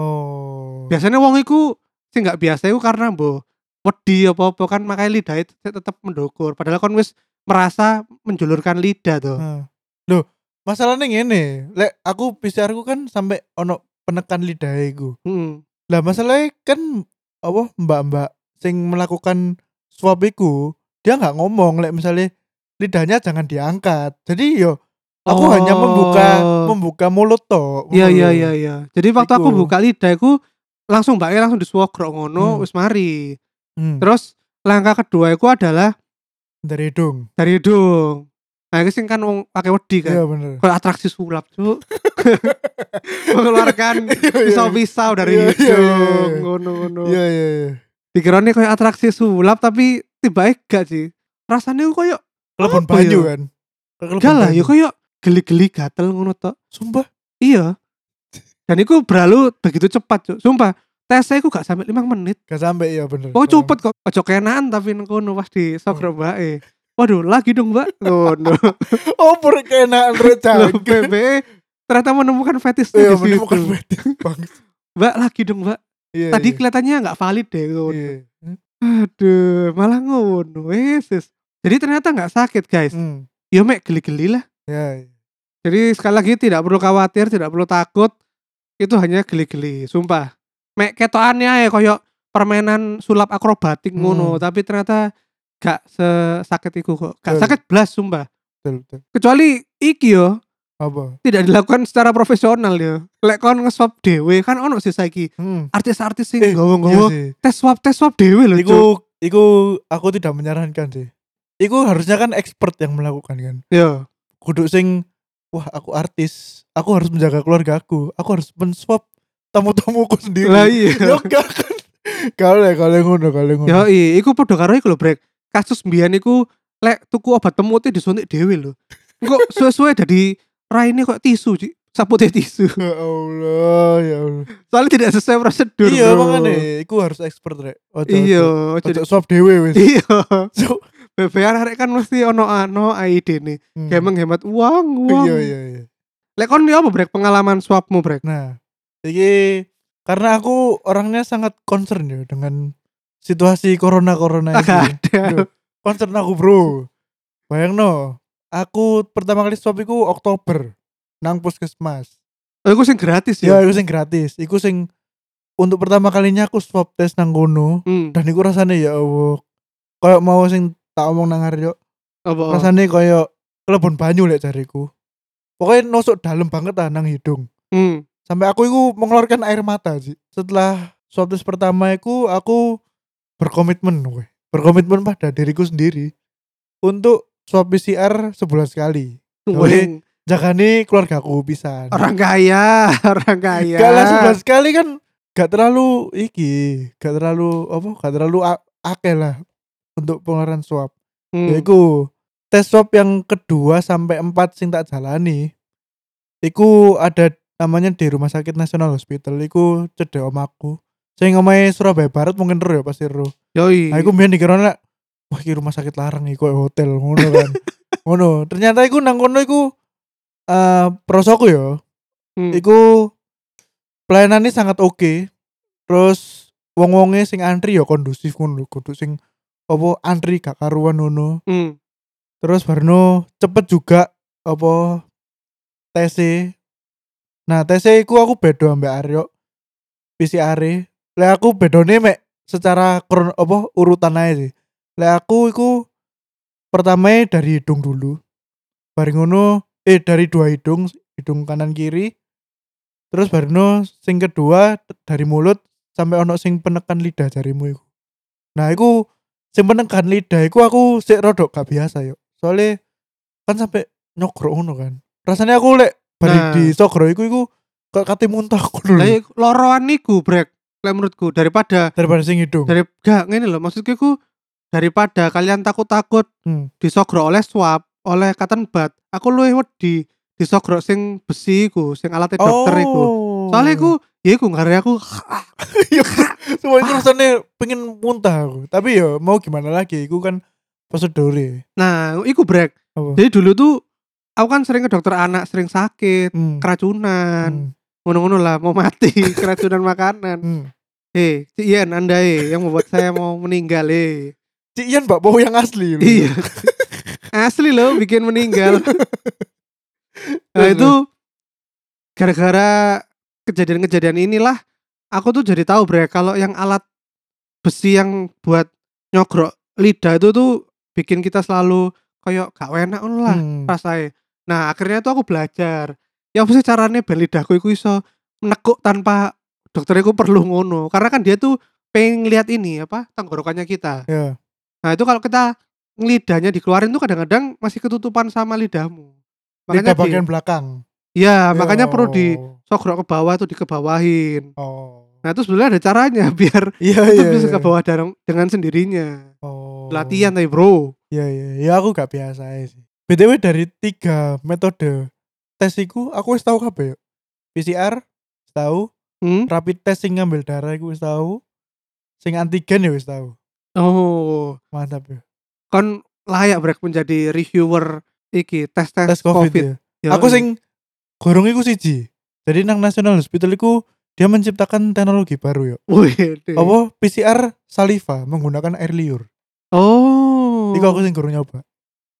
Speaker 2: Oh.
Speaker 1: Iya. biasanya wong iku sing nggak biasa iku karena mbo wedi apa-apa kan makanya lidah itu tetap mendukur padahal kon wis merasa menjulurkan lidah tuh
Speaker 2: Heeh. Loh, masalahnya ngene, lek aku PCR ku kan sampai ono penekan lidah iku.
Speaker 1: Heeh.
Speaker 2: Lah masalahnya kan apa mbak-mbak sing melakukan swab iku, dia nggak ngomong lek misalnya lidahnya jangan diangkat. Jadi yo aku
Speaker 1: Oh.
Speaker 2: hanya membuka membuka mulut tok.
Speaker 1: iya
Speaker 2: ngono
Speaker 1: iya
Speaker 2: lho.
Speaker 1: iya iya jadi waktu aku
Speaker 2: Iku.
Speaker 1: buka lidah iku langsung mbak langsung disuwogrok ngono
Speaker 2: Hmm.
Speaker 1: wis mari
Speaker 2: Hmm,
Speaker 1: terus langkah kedua iku adalah
Speaker 2: dari hidung.
Speaker 1: dari hidung nah ini sing kan wong pakai wedi kan
Speaker 2: Iya bener.
Speaker 1: kalau atraksi sulap tuh mengeluarkan
Speaker 2: Iya, iya.
Speaker 1: pisau-pisau dari
Speaker 2: Iya, iya, iya,
Speaker 1: hidung
Speaker 2: iya.
Speaker 1: ngono-ngono
Speaker 2: Iya iya iya.
Speaker 1: pikirannya kayak atraksi sulap tapi tiba gak sih rasanya kayak
Speaker 2: Kelebon
Speaker 1: Apa
Speaker 2: banyu
Speaker 1: ya?
Speaker 2: kan. Kelebon
Speaker 1: gak lah
Speaker 2: banyu.
Speaker 1: ya kayak geli-geli gatel ngono tok
Speaker 2: Sumpah.
Speaker 1: iya dan itu berlalu begitu cepat Cuk. sumpah tesnya aku gak sampai 5 menit
Speaker 2: Gak sampai ya bener.
Speaker 1: kok Oh, copot kok ojo kenaan tapi ngono pas di sogro mbak waduh lagi dong mbak ngono
Speaker 2: Oh, perkenaan
Speaker 1: Loh,
Speaker 2: rencana.
Speaker 1: PBE ternyata menemukan fetis
Speaker 2: Iya,
Speaker 1: di
Speaker 2: menemukan
Speaker 1: situ.
Speaker 2: batin bangsa.
Speaker 1: Mbak lagi dong, Mbak.
Speaker 2: Iya,
Speaker 1: Tadi
Speaker 2: iya,
Speaker 1: kelihatannya nggak valid deh. ngono.
Speaker 2: iya.
Speaker 1: Aduh, malah ngono. Wes, wes. Jadi ternyata nggak sakit, guys.
Speaker 2: Hmm,
Speaker 1: Ya mek geli-geli lah.
Speaker 2: iya, iya.
Speaker 1: Jadi sekali lagi tidak perlu khawatir, tidak perlu takut. Itu hanya geli-geli, sumpah. Mek ketokannya ya koyo permainan sulap akrobatik
Speaker 2: Hmm.
Speaker 1: ngono, tapi ternyata gak sesakit iku kok. Gak
Speaker 2: Betul.
Speaker 1: sakit blas sumpah.
Speaker 2: Betul, betul.
Speaker 1: Kecuali iki yo,
Speaker 2: Apa?
Speaker 1: tidak dilakukan secara profesional ya. Lek kon nge-swab dhewe kan ono sih saiki
Speaker 2: Hmm.
Speaker 1: artis-artis
Speaker 2: Eh,
Speaker 1: sing
Speaker 2: Iya
Speaker 1: gowo-gowo
Speaker 2: sih.
Speaker 1: tes swab tes swab dhewe lho.
Speaker 2: Iku,
Speaker 1: Cuk.
Speaker 2: iku aku tidak menyarankan sih. Iku harusnya kan expert yang melakukan kan.
Speaker 1: Yo.
Speaker 2: Kudu sing wah aku artis, aku harus menjaga keluarga aku, aku harus menswap tamu-tamuku sendiri.
Speaker 1: Lah iya.
Speaker 2: Ya enggak kan. Kalau ya, kalau ngono, kalau ngono.
Speaker 1: Yo i, iku padha karo iku lho brek. Kasus mbiyen iku lek tuku obat pemutih disuntik dhewe lho. Engko suwe-suwe dadi raine kok tisu, Cik. Saputih tisu.
Speaker 2: Ya Allah, ya Allah.
Speaker 1: Soalnya tidak sesuai prosedur.
Speaker 2: Iya,
Speaker 1: bro.
Speaker 2: makanya iku harus expert rek. Ojo-
Speaker 1: Iya,
Speaker 2: ojo-
Speaker 1: jadi
Speaker 2: ojo swab dhewe wis.
Speaker 1: iya.
Speaker 2: Cuk.
Speaker 1: BPR arek kan mesti ono ano ID nih.
Speaker 2: Hmm.
Speaker 1: Kayak menghemat uang, uang.
Speaker 2: Iya, iya, iya.
Speaker 1: Lek kon yo apa brek pengalaman swabmu brek?
Speaker 2: Nah, ini karena aku orangnya sangat concern ya dengan situasi corona corona ini.
Speaker 1: Agak ada.
Speaker 2: Duh, concern aku bro. Bayang no, aku pertama kali swab iku Oktober nang puskesmas.
Speaker 1: Oh, iku sing gratis
Speaker 2: Ya,
Speaker 1: ya.
Speaker 2: iku sing gratis. Iku sing untuk pertama kalinya aku swab tes nang kono
Speaker 1: Hmm.
Speaker 2: dan iku rasanya ya Allah. Kayak mau sing tak omong nang arek yo.
Speaker 1: Apa?
Speaker 2: Rasane koyo kelebon banyu lek jariku. Pokoknya nosok dalam banget ah nang hidung.
Speaker 1: Hmm.
Speaker 2: sampai aku itu mengeluarkan air mata sih setelah swab test pertama itu aku berkomitmen weh. berkomitmen pada diriku sendiri untuk swab PCR sebulan sekali
Speaker 1: Weng,
Speaker 2: jagani keluarga aku bisa
Speaker 1: orang kaya, orang kaya.
Speaker 2: gak lah sebulan sekali kan gak terlalu iki gak terlalu apa gak terlalu a- akeh lah untuk pengeluaran swab
Speaker 1: Hmm.
Speaker 2: yaiku tes swab yang kedua sampai empat sing tak jalani iku ada namanya di Rumah Sakit Nasional Hospital iku cedek omaku sing omahe Surabaya Barat mungkin ro ya pasti ro
Speaker 1: Yoi.
Speaker 2: nah iku mbiyen dikira nek wah iki rumah sakit larang iki koyo hotel ngono kan ngono ternyata iku nang kono iku eh prosoku ya
Speaker 1: Hmm.
Speaker 2: iku pelayanannya sangat oke terus wong-wonge sing antri ya kondusif ngono lho kudu sing apa antri gak karuan ngono
Speaker 1: Hmm.
Speaker 2: terus Barno cepet juga apa TC nah TC iku aku bedo ambek Aryo PCR -e. lek aku bedone mek secara kron apa urutan aja sih lek aku iku pertama e dari hidung dulu bareng ngono eh dari dua hidung hidung kanan kiri terus Barno sing kedua t- dari mulut sampai ono sing penekan lidah jarimu iku nah iku sing penekan lidah iku aku sik rodok gak biasa yo soalnya kan sampai nyogro ngono kan rasanya aku lek bari
Speaker 1: Nah.
Speaker 2: di sogro iku iku kok kate muntah aku dulu
Speaker 1: Lah iya. iku- loroan niku brek. Lah menurutku daripada
Speaker 2: daripada sing hidung
Speaker 1: dari gak ngene lho maksudku iku daripada kalian takut-takut
Speaker 2: Hmm.
Speaker 1: disogro oleh swab, oleh cotton bud, aku luwih wedi disogro sing besi iku, sing alatnya dokter iku.
Speaker 2: Oh.
Speaker 1: Soalnya iku, ya iku ngare aku
Speaker 2: Iya, semua itu rasanya pengen muntah aku. Tapi ya mau gimana lagi, aku kan prosedur
Speaker 1: Nah, iku brek.
Speaker 2: Apa?
Speaker 1: Jadi dulu tuh aku kan sering ke dokter anak, sering sakit,
Speaker 2: Hmm.
Speaker 1: keracunan,
Speaker 2: Hmm.
Speaker 1: ngono-ngono lah, mau mati keracunan makanan.
Speaker 2: Hmm.
Speaker 1: Hei, Cik Ian, anda eh, yang membuat saya mau meninggal eh.
Speaker 2: Cik Ian Mbak Bowo yang asli lho.
Speaker 1: Iya. Asli loh bikin meninggal. nah
Speaker 2: Terus,
Speaker 1: itu gara-gara kejadian-kejadian inilah aku tuh jadi tahu bre kalau yang alat besi yang buat nyogrok lidah itu tuh bikin kita selalu koyok gak enak ngono lah
Speaker 2: Hmm.
Speaker 1: rasanya. Nah akhirnya tuh aku belajar. Ya apa sih caranya ben lidahku iku iso menekuk tanpa dokternya aku perlu ngono. Karena kan dia tuh pengen lihat ini apa tenggorokannya kita.
Speaker 2: Ya.
Speaker 1: Nah itu kalau kita lidahnya dikeluarin tuh kadang-kadang masih ketutupan sama lidahmu.
Speaker 2: Lidah
Speaker 1: Makanya di-
Speaker 2: bagian belakang.
Speaker 1: ya makanya
Speaker 2: Yo.
Speaker 1: perlu di sogrok ke bawah tuh dikebawahin.
Speaker 2: Oh.
Speaker 1: Nah itu sebenarnya ada caranya biar
Speaker 2: Iya
Speaker 1: itu
Speaker 2: iya.
Speaker 1: bisa
Speaker 2: iya.
Speaker 1: ke bawah dengan, dengan sendirinya.
Speaker 2: Oh.
Speaker 1: Latihan tapi bro.
Speaker 2: Iya iya. Ya aku gak biasa aja sih. BTW dari tiga metode tes iku aku wis tahu kabeh ya. PCR wis tahu,
Speaker 1: Hmm?
Speaker 2: rapid test sing ngambil darah iku wis tahu. Sing antigen ya wis tahu.
Speaker 1: Oh,
Speaker 2: Mantap ya.
Speaker 1: kon layak brek menjadi reviewer iki tes tes,
Speaker 2: Tes
Speaker 1: COVID.
Speaker 2: COVID, ya. Aku sing gorong iku siji. Jadi nang National Hospital iku dia menciptakan teknologi baru ya.
Speaker 1: Wih, deh.
Speaker 2: Apa PCR saliva menggunakan air liur.
Speaker 1: Oh.
Speaker 2: Iku aku sing gorong nyoba.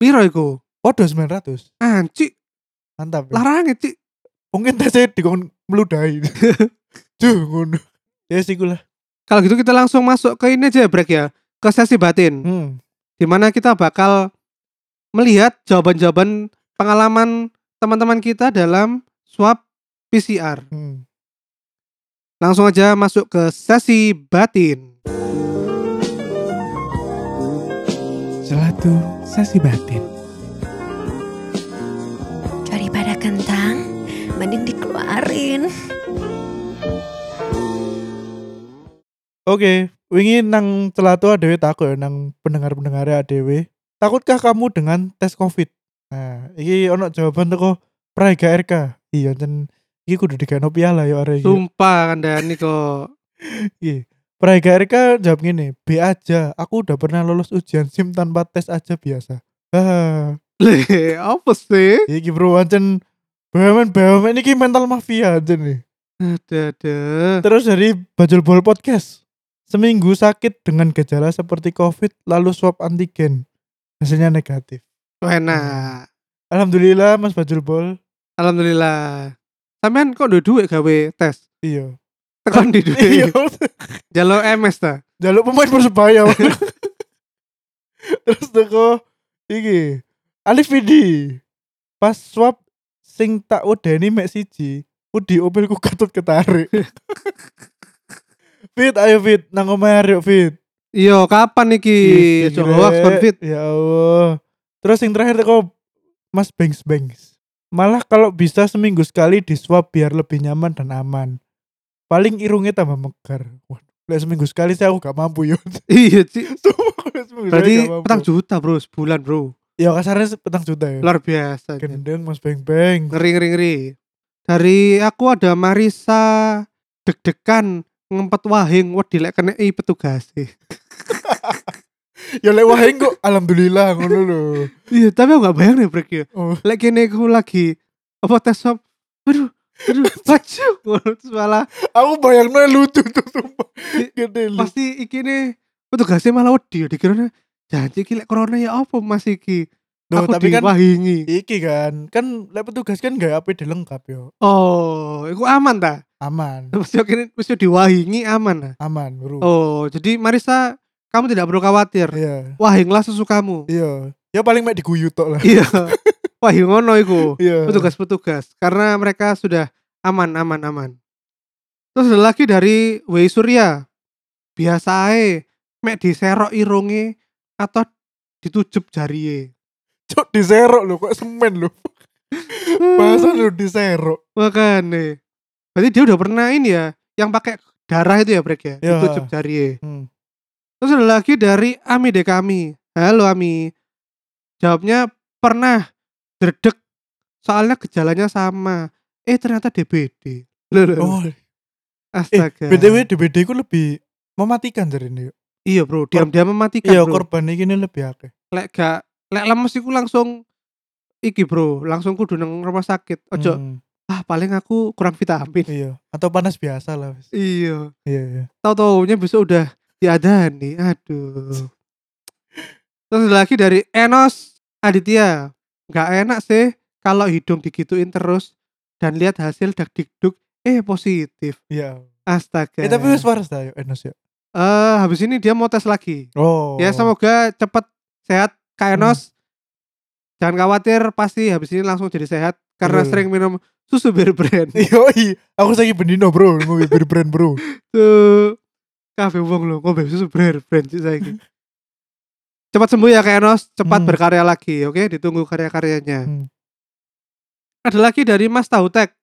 Speaker 1: Piro iku?
Speaker 2: Waduh 900.
Speaker 1: Anci,
Speaker 2: Hmm. Mantap. Ya.
Speaker 1: larang Ci.
Speaker 2: Mungkin tesnya dikon meludahi. Duh ngono. Ya sih lah.
Speaker 1: Kalau gitu kita langsung masuk ke ini aja brek ya. Ke sesi batin.
Speaker 2: Hmm.
Speaker 1: dimana kita bakal melihat jawaban-jawaban pengalaman teman-teman kita dalam swab PCR.
Speaker 2: hmm.
Speaker 1: Langsung aja masuk ke sesi batin.
Speaker 2: Oh Selatu sesi batin.
Speaker 3: Daripada kentang, mending dikeluarin.
Speaker 2: Oke, wingi nang celatu adewe takut ya nang pendengar-pendengar adewe. Takutkah kamu dengan tes Covid? Nah, iki ono jawaban teko Praiga RK. Iya, jen iki kudu digano piala ya arek iki.
Speaker 1: Sumpah Anda ini kok.
Speaker 2: Praega RK jawab gini, B aja, aku udah pernah lolos ujian SIM tanpa tes aja biasa. Haha,
Speaker 1: Leh, apa sih?
Speaker 2: iki bro, ancen BUMN, BUMN ini mental mafia aja nih.
Speaker 1: Dede.
Speaker 2: Terus dari Bajul Bol Podcast, seminggu sakit dengan gejala seperti COVID, lalu swab antigen, hasilnya negatif.
Speaker 1: Enak.
Speaker 2: Alhamdulillah Mas Bajul Bol,
Speaker 1: Alhamdulillah. Sampean kok duwe duit gawe tes?
Speaker 2: iya.
Speaker 1: Tekan di
Speaker 2: Iya,
Speaker 1: duit. Jalur MS ta?
Speaker 2: jaluk pemain persebaya. Terus teko iki Alif Widi. Pas swab sing tak wedeni mek siji, Udi opelku katut ketarik. fit ayo fit nang omahe Aryo fit.
Speaker 1: Iya, kapan iki?
Speaker 2: Ih,
Speaker 1: Iso
Speaker 2: gile.
Speaker 1: hoax konfit.
Speaker 2: Ya Allah. Terus yang terakhir teko Mas Bengs Bengs. Malah kalau bisa seminggu sekali di swab biar lebih nyaman dan aman. Paling irungnya tambah megar. Waduh, lek seminggu sekali saya aku gak mampu yo.
Speaker 1: Iya, Ci.
Speaker 2: Sumpah, aku seminggu sekali
Speaker 1: Berarti
Speaker 2: gak mampu.
Speaker 1: petang juta, Bro, sebulan, Bro.
Speaker 2: Ya kasarnya petang juta ya.
Speaker 1: Luar biasa. Jen.
Speaker 2: Gendeng mas beng beng.
Speaker 1: Ngeri ngeri ngeri. Dari aku ada Marisa deg-degan ngempet wahing wedi lek kena i petugas sih.
Speaker 2: Ya lek wahing kok alhamdulillah ngono lho.
Speaker 1: Iya, tapi aku gak bayang nih break ya.
Speaker 2: Oh.
Speaker 1: Lek kene aku lagi apa tes swab. Aduh, aduh, baju. Terus malah
Speaker 2: Aku bayangno lucu tuh sumpah. Gede lu.
Speaker 1: pasti iki nih petugasnya malah wedi ya dikiranya janji iki lek corona ya apa Mas iki.
Speaker 2: Loh,
Speaker 1: aku
Speaker 2: tapi kan
Speaker 1: diwahingi.
Speaker 2: iki kan kan lek petugas kan gak APD lengkap yo.
Speaker 1: Oh, iku aman ta?
Speaker 2: Aman.
Speaker 1: Mesti kene mesti diwahingi aman ta?
Speaker 2: Aman, Bro.
Speaker 1: Oh, jadi Marisa kamu tidak perlu khawatir.
Speaker 2: Iya.
Speaker 1: Wahinglah sesukamu.
Speaker 2: Iya. Ya paling mek diguyu tok lah.
Speaker 1: Iya. Wahing ngono iku.
Speaker 2: Iya.
Speaker 1: Petugas-petugas karena mereka sudah aman aman aman. Terus ada lagi dari Wei Surya. Biasa ae mek diserok irunge atau ditujup jariye.
Speaker 2: Cuk diserok lho kok semen lho. Bahasa lu diserok.
Speaker 1: Makane. Berarti dia udah pernah ini ya yang pakai darah itu ya Brek ya,
Speaker 2: Ya.
Speaker 1: ditujup jariye.
Speaker 2: Hmm.
Speaker 1: Terus ada lagi dari Ami deh kami. Halo Ami. Jawabnya pernah dredek soalnya gejalanya sama. Eh ternyata DBD. Loh, loh, loh.
Speaker 2: Oh, eh,
Speaker 1: astaga.
Speaker 2: BTW DBD ku lebih mematikan dari ini.
Speaker 1: Iya bro, diam-diam mematikan
Speaker 2: Iya,
Speaker 1: bro.
Speaker 2: korban ini lebih akeh.
Speaker 1: Lek gak, lek lemes iku langsung iki bro, langsung kudu nang rumah sakit. Ojo,
Speaker 2: Hmm,
Speaker 1: ah paling aku kurang vitamin.
Speaker 2: Iya, atau panas biasa lah. wis.
Speaker 1: Iya.
Speaker 2: Iya, iya.
Speaker 1: Tahu-taunya besok udah diadani. Aduh. Terus ada lagi dari Enos Aditya. Gak enak sih kalau hidung digituin terus dan lihat hasil dak dikduk eh positif.
Speaker 2: Iya.
Speaker 1: Astaga.
Speaker 2: Eh, tapi wis waras ta yo Enos ya.
Speaker 1: Eh, habis ini dia mau tes lagi.
Speaker 2: Oh. Hmm.
Speaker 1: Ya semoga cepet sehat Kak Enos. Jangan khawatir pasti habis ini langsung jadi sehat karena
Speaker 2: Betul.
Speaker 1: sering minum susu bir brand.
Speaker 2: Yoi, aku saiki bendino, Bro. Ngombe bir brand, Bro.
Speaker 1: Tuh. Kafe wong lo ngombe susu brand brand sih saiki. Cepat sembuh ya Kak Enos, cepat
Speaker 2: Hmm.
Speaker 1: berkarya lagi, oke? Ditunggu karya-karyanya.
Speaker 2: Hmm.
Speaker 1: Ada lagi dari Mas Tautek.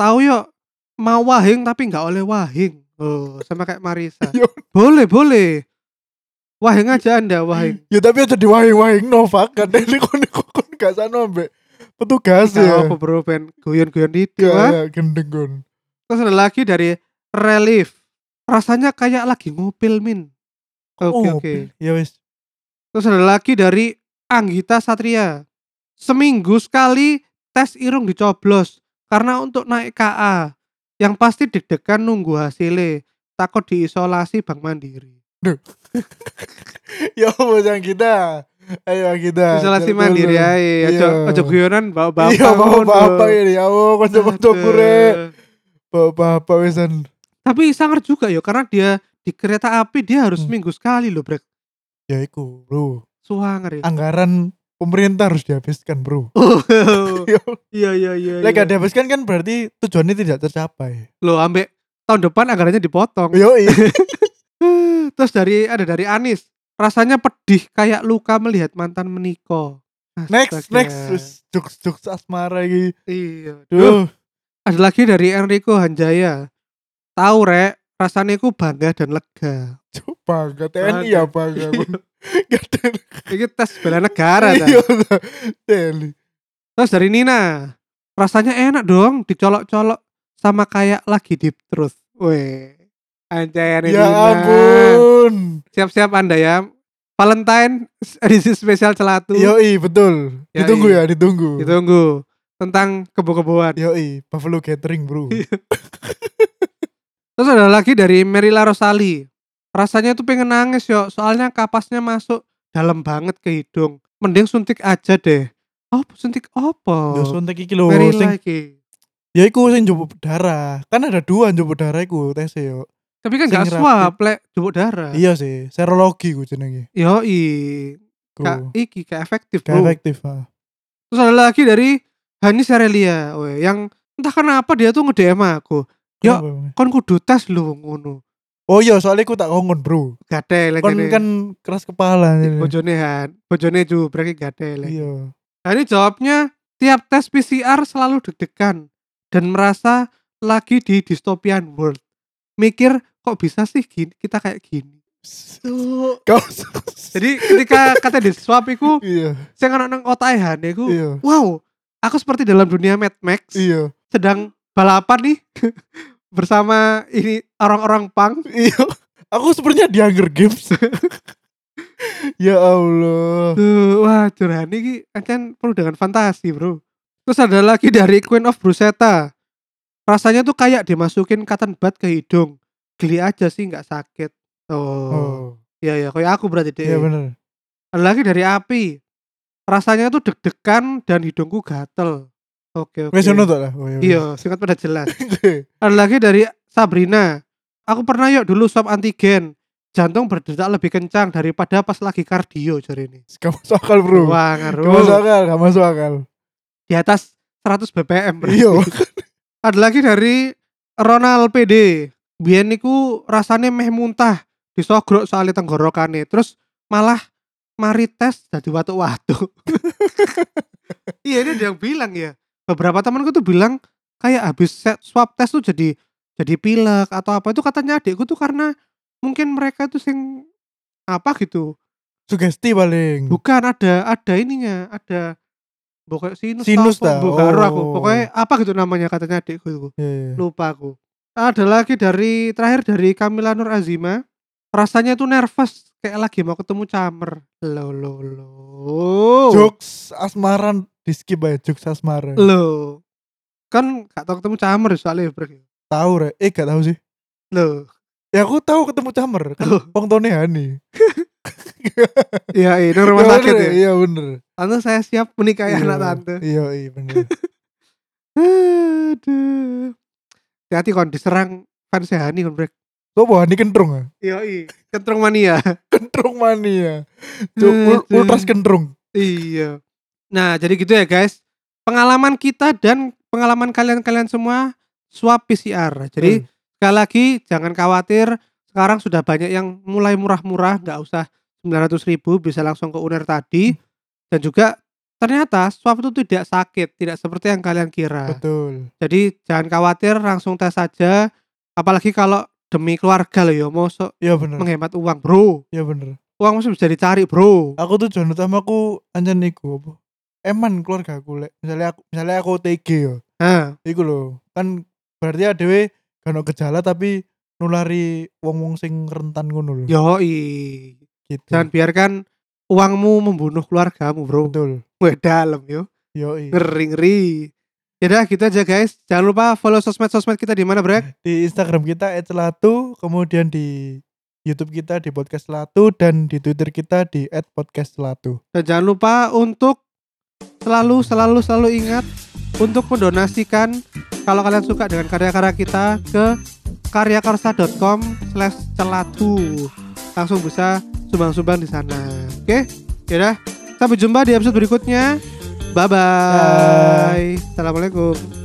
Speaker 1: Tahu yuk, mau wahing tapi nggak oleh wahing. Oh, sama kayak Marisa.
Speaker 2: Yo.
Speaker 1: boleh, boleh. Wahing aja Anda, wahing.
Speaker 2: Ya tapi aja diwahing-wahing Nova kan ini kon kon gak sano ambek petugas
Speaker 1: Gak apa
Speaker 2: ya.
Speaker 1: bro, ben guyon-guyon di ah.
Speaker 2: Gak ya, gendeng kon.
Speaker 1: Terus ada lagi dari Relief. Rasanya kayak lagi ngupil, Min. Oke,
Speaker 2: Oh,
Speaker 1: oke.
Speaker 2: Ya wis.
Speaker 1: Terus ada lagi dari Anggita Satria. Seminggu sekali tes irung dicoblos karena untuk naik KA. Yang pasti deg-degan nunggu hasilnya. Takut diisolasi Bank Mandiri.
Speaker 2: Ya apa yang kita? Ayo kita.
Speaker 1: Isolasi
Speaker 2: Eh, Jangan
Speaker 1: mandiri ya.
Speaker 2: dulu.
Speaker 1: ae. Aja
Speaker 2: Iya.
Speaker 1: aja guyonan bawa-bawa.
Speaker 2: Iya, bapak-bapak ini. Ya Allah, kocok-kocok kure. Bapak-bapak wesan.
Speaker 1: Tapi sangar juga ya karena dia di kereta api dia harus
Speaker 2: Hmm.
Speaker 1: minggu sekali loh, Brek.
Speaker 2: Ya iku, Bro.
Speaker 1: Suangar ya.
Speaker 2: Ah. Anggaran pemerintah harus dihabiskan, Bro. Ya Allah.
Speaker 1: Iya iya iya.
Speaker 2: Lek
Speaker 1: iya.
Speaker 2: gak dihabiskan kan berarti tujuannya tidak tercapai.
Speaker 1: Loh, ambek tahun depan anggarannya dipotong.
Speaker 2: Yo, iya.
Speaker 1: Eh, Terus dari ada dari Anis. Rasanya pedih kayak luka melihat mantan meniko.
Speaker 2: next,
Speaker 1: Astaga.
Speaker 2: next. Wis, Jokes-jokes asmara iki.
Speaker 1: Iya. Duh.
Speaker 2: Duh,
Speaker 1: Ada lagi dari Enrico Hanjaya. Tahu rek, rasanya ku bangga dan lega.
Speaker 2: cuk, bangga TNI ya
Speaker 1: Iya.
Speaker 2: bangga. Gak ada-
Speaker 1: Ini tes bela negara. Ta.
Speaker 2: Iya, ta. TNI.
Speaker 1: Terus dari Nina. Rasanya enak dong dicolok-colok sama kayak lagi deep truth. Weh. Anjay Nina.
Speaker 2: Ya ampun.
Speaker 1: Siap-siap Anda ya. Valentine edisi spesial celatu.
Speaker 2: Yoi, iya, betul.
Speaker 1: Yoi.
Speaker 2: Ditunggu ya, ditunggu.
Speaker 1: Ditunggu tentang kebo-keboan.
Speaker 2: Yoi, Buffalo Gathering, Bro.
Speaker 1: Iya. Terus ada lagi dari Merila Rosali. Rasanya tuh pengen nangis yo, soalnya kapasnya masuk dalam banget ke hidung. Mending suntik aja deh. Oh, suntik
Speaker 2: Yo
Speaker 1: apa?
Speaker 2: suntik iki lho
Speaker 1: Merila
Speaker 2: sing
Speaker 1: iki.
Speaker 2: ya iku sing njupuk darah. Kan ada dua njupuk darah iku tes yo.
Speaker 1: Tapi kan
Speaker 2: Sing
Speaker 1: gak
Speaker 2: rapid.
Speaker 1: swab, lek jebuk darah.
Speaker 2: Iya sih, serologi ku jenenge.
Speaker 1: Yo
Speaker 2: Ku.
Speaker 1: iki gak efektif,
Speaker 2: Gak
Speaker 1: Bro.
Speaker 2: efektif. ah.
Speaker 1: Terus ada lagi dari Hani Serelia, we, yang entah kenapa dia tuh nge-DM aku. Yo.
Speaker 2: Kenapa emangnya?
Speaker 1: Kon kudu tes lu ngono.
Speaker 2: Oh iya, soalnya ku tak kongon, Bro.
Speaker 1: Gade lek
Speaker 2: Kon
Speaker 1: ngene.
Speaker 2: kan keras kepala ini.
Speaker 1: bojone Han, bojone ju berarti gade lek.
Speaker 2: Iya.
Speaker 1: Nah ini jawabnya tiap tes PCR selalu deg-degan dan merasa lagi di dystopian world. Mikir kok bisa sih gini, kita kayak gini. Tuh.
Speaker 2: Kau
Speaker 1: Jadi ketika kata di swap iku
Speaker 2: iya,
Speaker 1: sing ana nang otak Han iku,
Speaker 2: iya,
Speaker 1: wow, aku seperti dalam dunia Mad Max
Speaker 2: iya,
Speaker 1: sedang balapan nih bersama ini orang-orang punk
Speaker 2: iya. Aku sepertinya di Hunger Games. ya Allah.
Speaker 1: Tuh, wah curhan ini kan perlu dengan fantasi bro. Terus ada lagi dari Queen of Bruseta. Rasanya tuh kayak dimasukin cotton bud ke hidung. Geli aja sih nggak sakit. Oh,
Speaker 2: Oh,
Speaker 1: iya iya kayak aku berarti deh.
Speaker 2: iya benar.
Speaker 1: Ada lagi dari Api. Rasanya tuh deg-degan dan hidungku gatel. Oke oke.
Speaker 2: Wes ono Iya. tak lah. Oh,
Speaker 1: Iya, singkat pada jelas. Ada lagi dari Sabrina. Aku pernah yuk dulu swab antigen. Jantung berdetak lebih kencang daripada pas lagi kardio jari ini.
Speaker 2: Gak masuk akal, Bro.
Speaker 1: Wah,
Speaker 2: Gak masuk
Speaker 1: ngaruh.
Speaker 2: akal, gak masuk akal.
Speaker 1: Di atas 100 BPM. berarti.
Speaker 2: Iya.
Speaker 1: Ada lagi dari Ronald PD. Biyen niku rasane meh muntah, disogrok soalnya tenggorokane. Terus malah mari tes jadi watu-watu. iya, ini ada yang bilang ya. Beberapa temanku tuh bilang kayak habis set swab test tuh jadi jadi pilek atau apa itu katanya adikku tuh karena mungkin mereka tuh sing apa gitu.
Speaker 2: Sugesti paling.
Speaker 1: Bukan ada ada ininya, ada pokoknya sinus,
Speaker 2: Sinus
Speaker 1: apa,
Speaker 2: ta?
Speaker 1: mbok gak ero aku.
Speaker 2: Oh.
Speaker 1: Pokoknya apa gitu namanya katanya adikku itu
Speaker 2: Iya, iya.
Speaker 1: lupa aku ada lagi dari terakhir dari Kamila Nur Azima rasanya tuh nervous kayak lagi mau ketemu Camer lo lo lo
Speaker 2: Jokes asmaran di skip aja jokes asmara.
Speaker 1: lo kan gak tau ketemu Camer soalnya ya, bro
Speaker 2: Tahu re? Eh gak tahu sih.
Speaker 1: lo
Speaker 2: Ya aku tahu ketemu Camer kan
Speaker 1: Loh.
Speaker 2: wong tone Hani.
Speaker 1: iya iya nang rumah
Speaker 2: Iya,
Speaker 1: sakit
Speaker 2: bener,
Speaker 1: ya
Speaker 2: Iya bener.
Speaker 1: tante saya siap menikahi
Speaker 2: Iya,
Speaker 1: anak tante
Speaker 2: Iya iya bener.
Speaker 1: aduh hati kon diserang fans Hani kon brek
Speaker 2: Sopo Hani kentrung ya?
Speaker 1: iya iya kentrung mania
Speaker 2: Kentrung mania. Cuk, ul-
Speaker 1: Aduh.
Speaker 2: ultras kentrung.
Speaker 1: Iya. Nah, jadi gitu ya guys. Pengalaman kita dan pengalaman kalian-kalian semua swab PCR. Jadi
Speaker 2: Hmm.
Speaker 1: sekali lagi jangan khawatir. Sekarang sudah banyak yang mulai murah-murah, nggak usah 900.000 ribu bisa langsung ke UNER tadi. Dan juga ternyata swab itu tidak sakit, tidak seperti yang kalian kira.
Speaker 2: betul.
Speaker 1: Jadi jangan khawatir, langsung tes saja. Apalagi kalau demi keluarga loh ya, mau
Speaker 2: Iya bener.
Speaker 1: menghemat uang bro.
Speaker 2: Iya bener.
Speaker 1: Uang masih bisa dicari bro.
Speaker 2: Aku tujuan utamaku anjen iku apa? Eman keluarga aku lek. Misalnya aku misalnya aku TG ya.
Speaker 1: Nah,
Speaker 2: Iku lho. Kan berarti adewe gak ono gejala tapi nulari wong-wong sing rentan ngono lho.
Speaker 1: yoi.
Speaker 2: gitu.
Speaker 1: Jangan biarkan uangmu membunuh keluargamu, bro.
Speaker 2: Betul.
Speaker 1: Wah, dalam yo.
Speaker 2: Yo, i.
Speaker 1: Ngeri, ngeri. Yaudah, gitu aja guys. Jangan lupa follow sosmed-sosmed kita di mana, Brek?
Speaker 2: di Instagram kita @celatu, kemudian di YouTube kita di podcast Celatu dan di Twitter kita di @podcastcelatu.
Speaker 1: Dan jangan lupa untuk selalu, selalu, selalu ingat untuk mendonasikan kalau kalian suka dengan karya-karya kita ke karyakarsa.com slash celatu. Langsung bisa sumbang-sumbang di sana. Oke? Yaudah, sampai jumpa di episode berikutnya. Bye-bye.
Speaker 2: Bye.
Speaker 1: Assalamualaikum.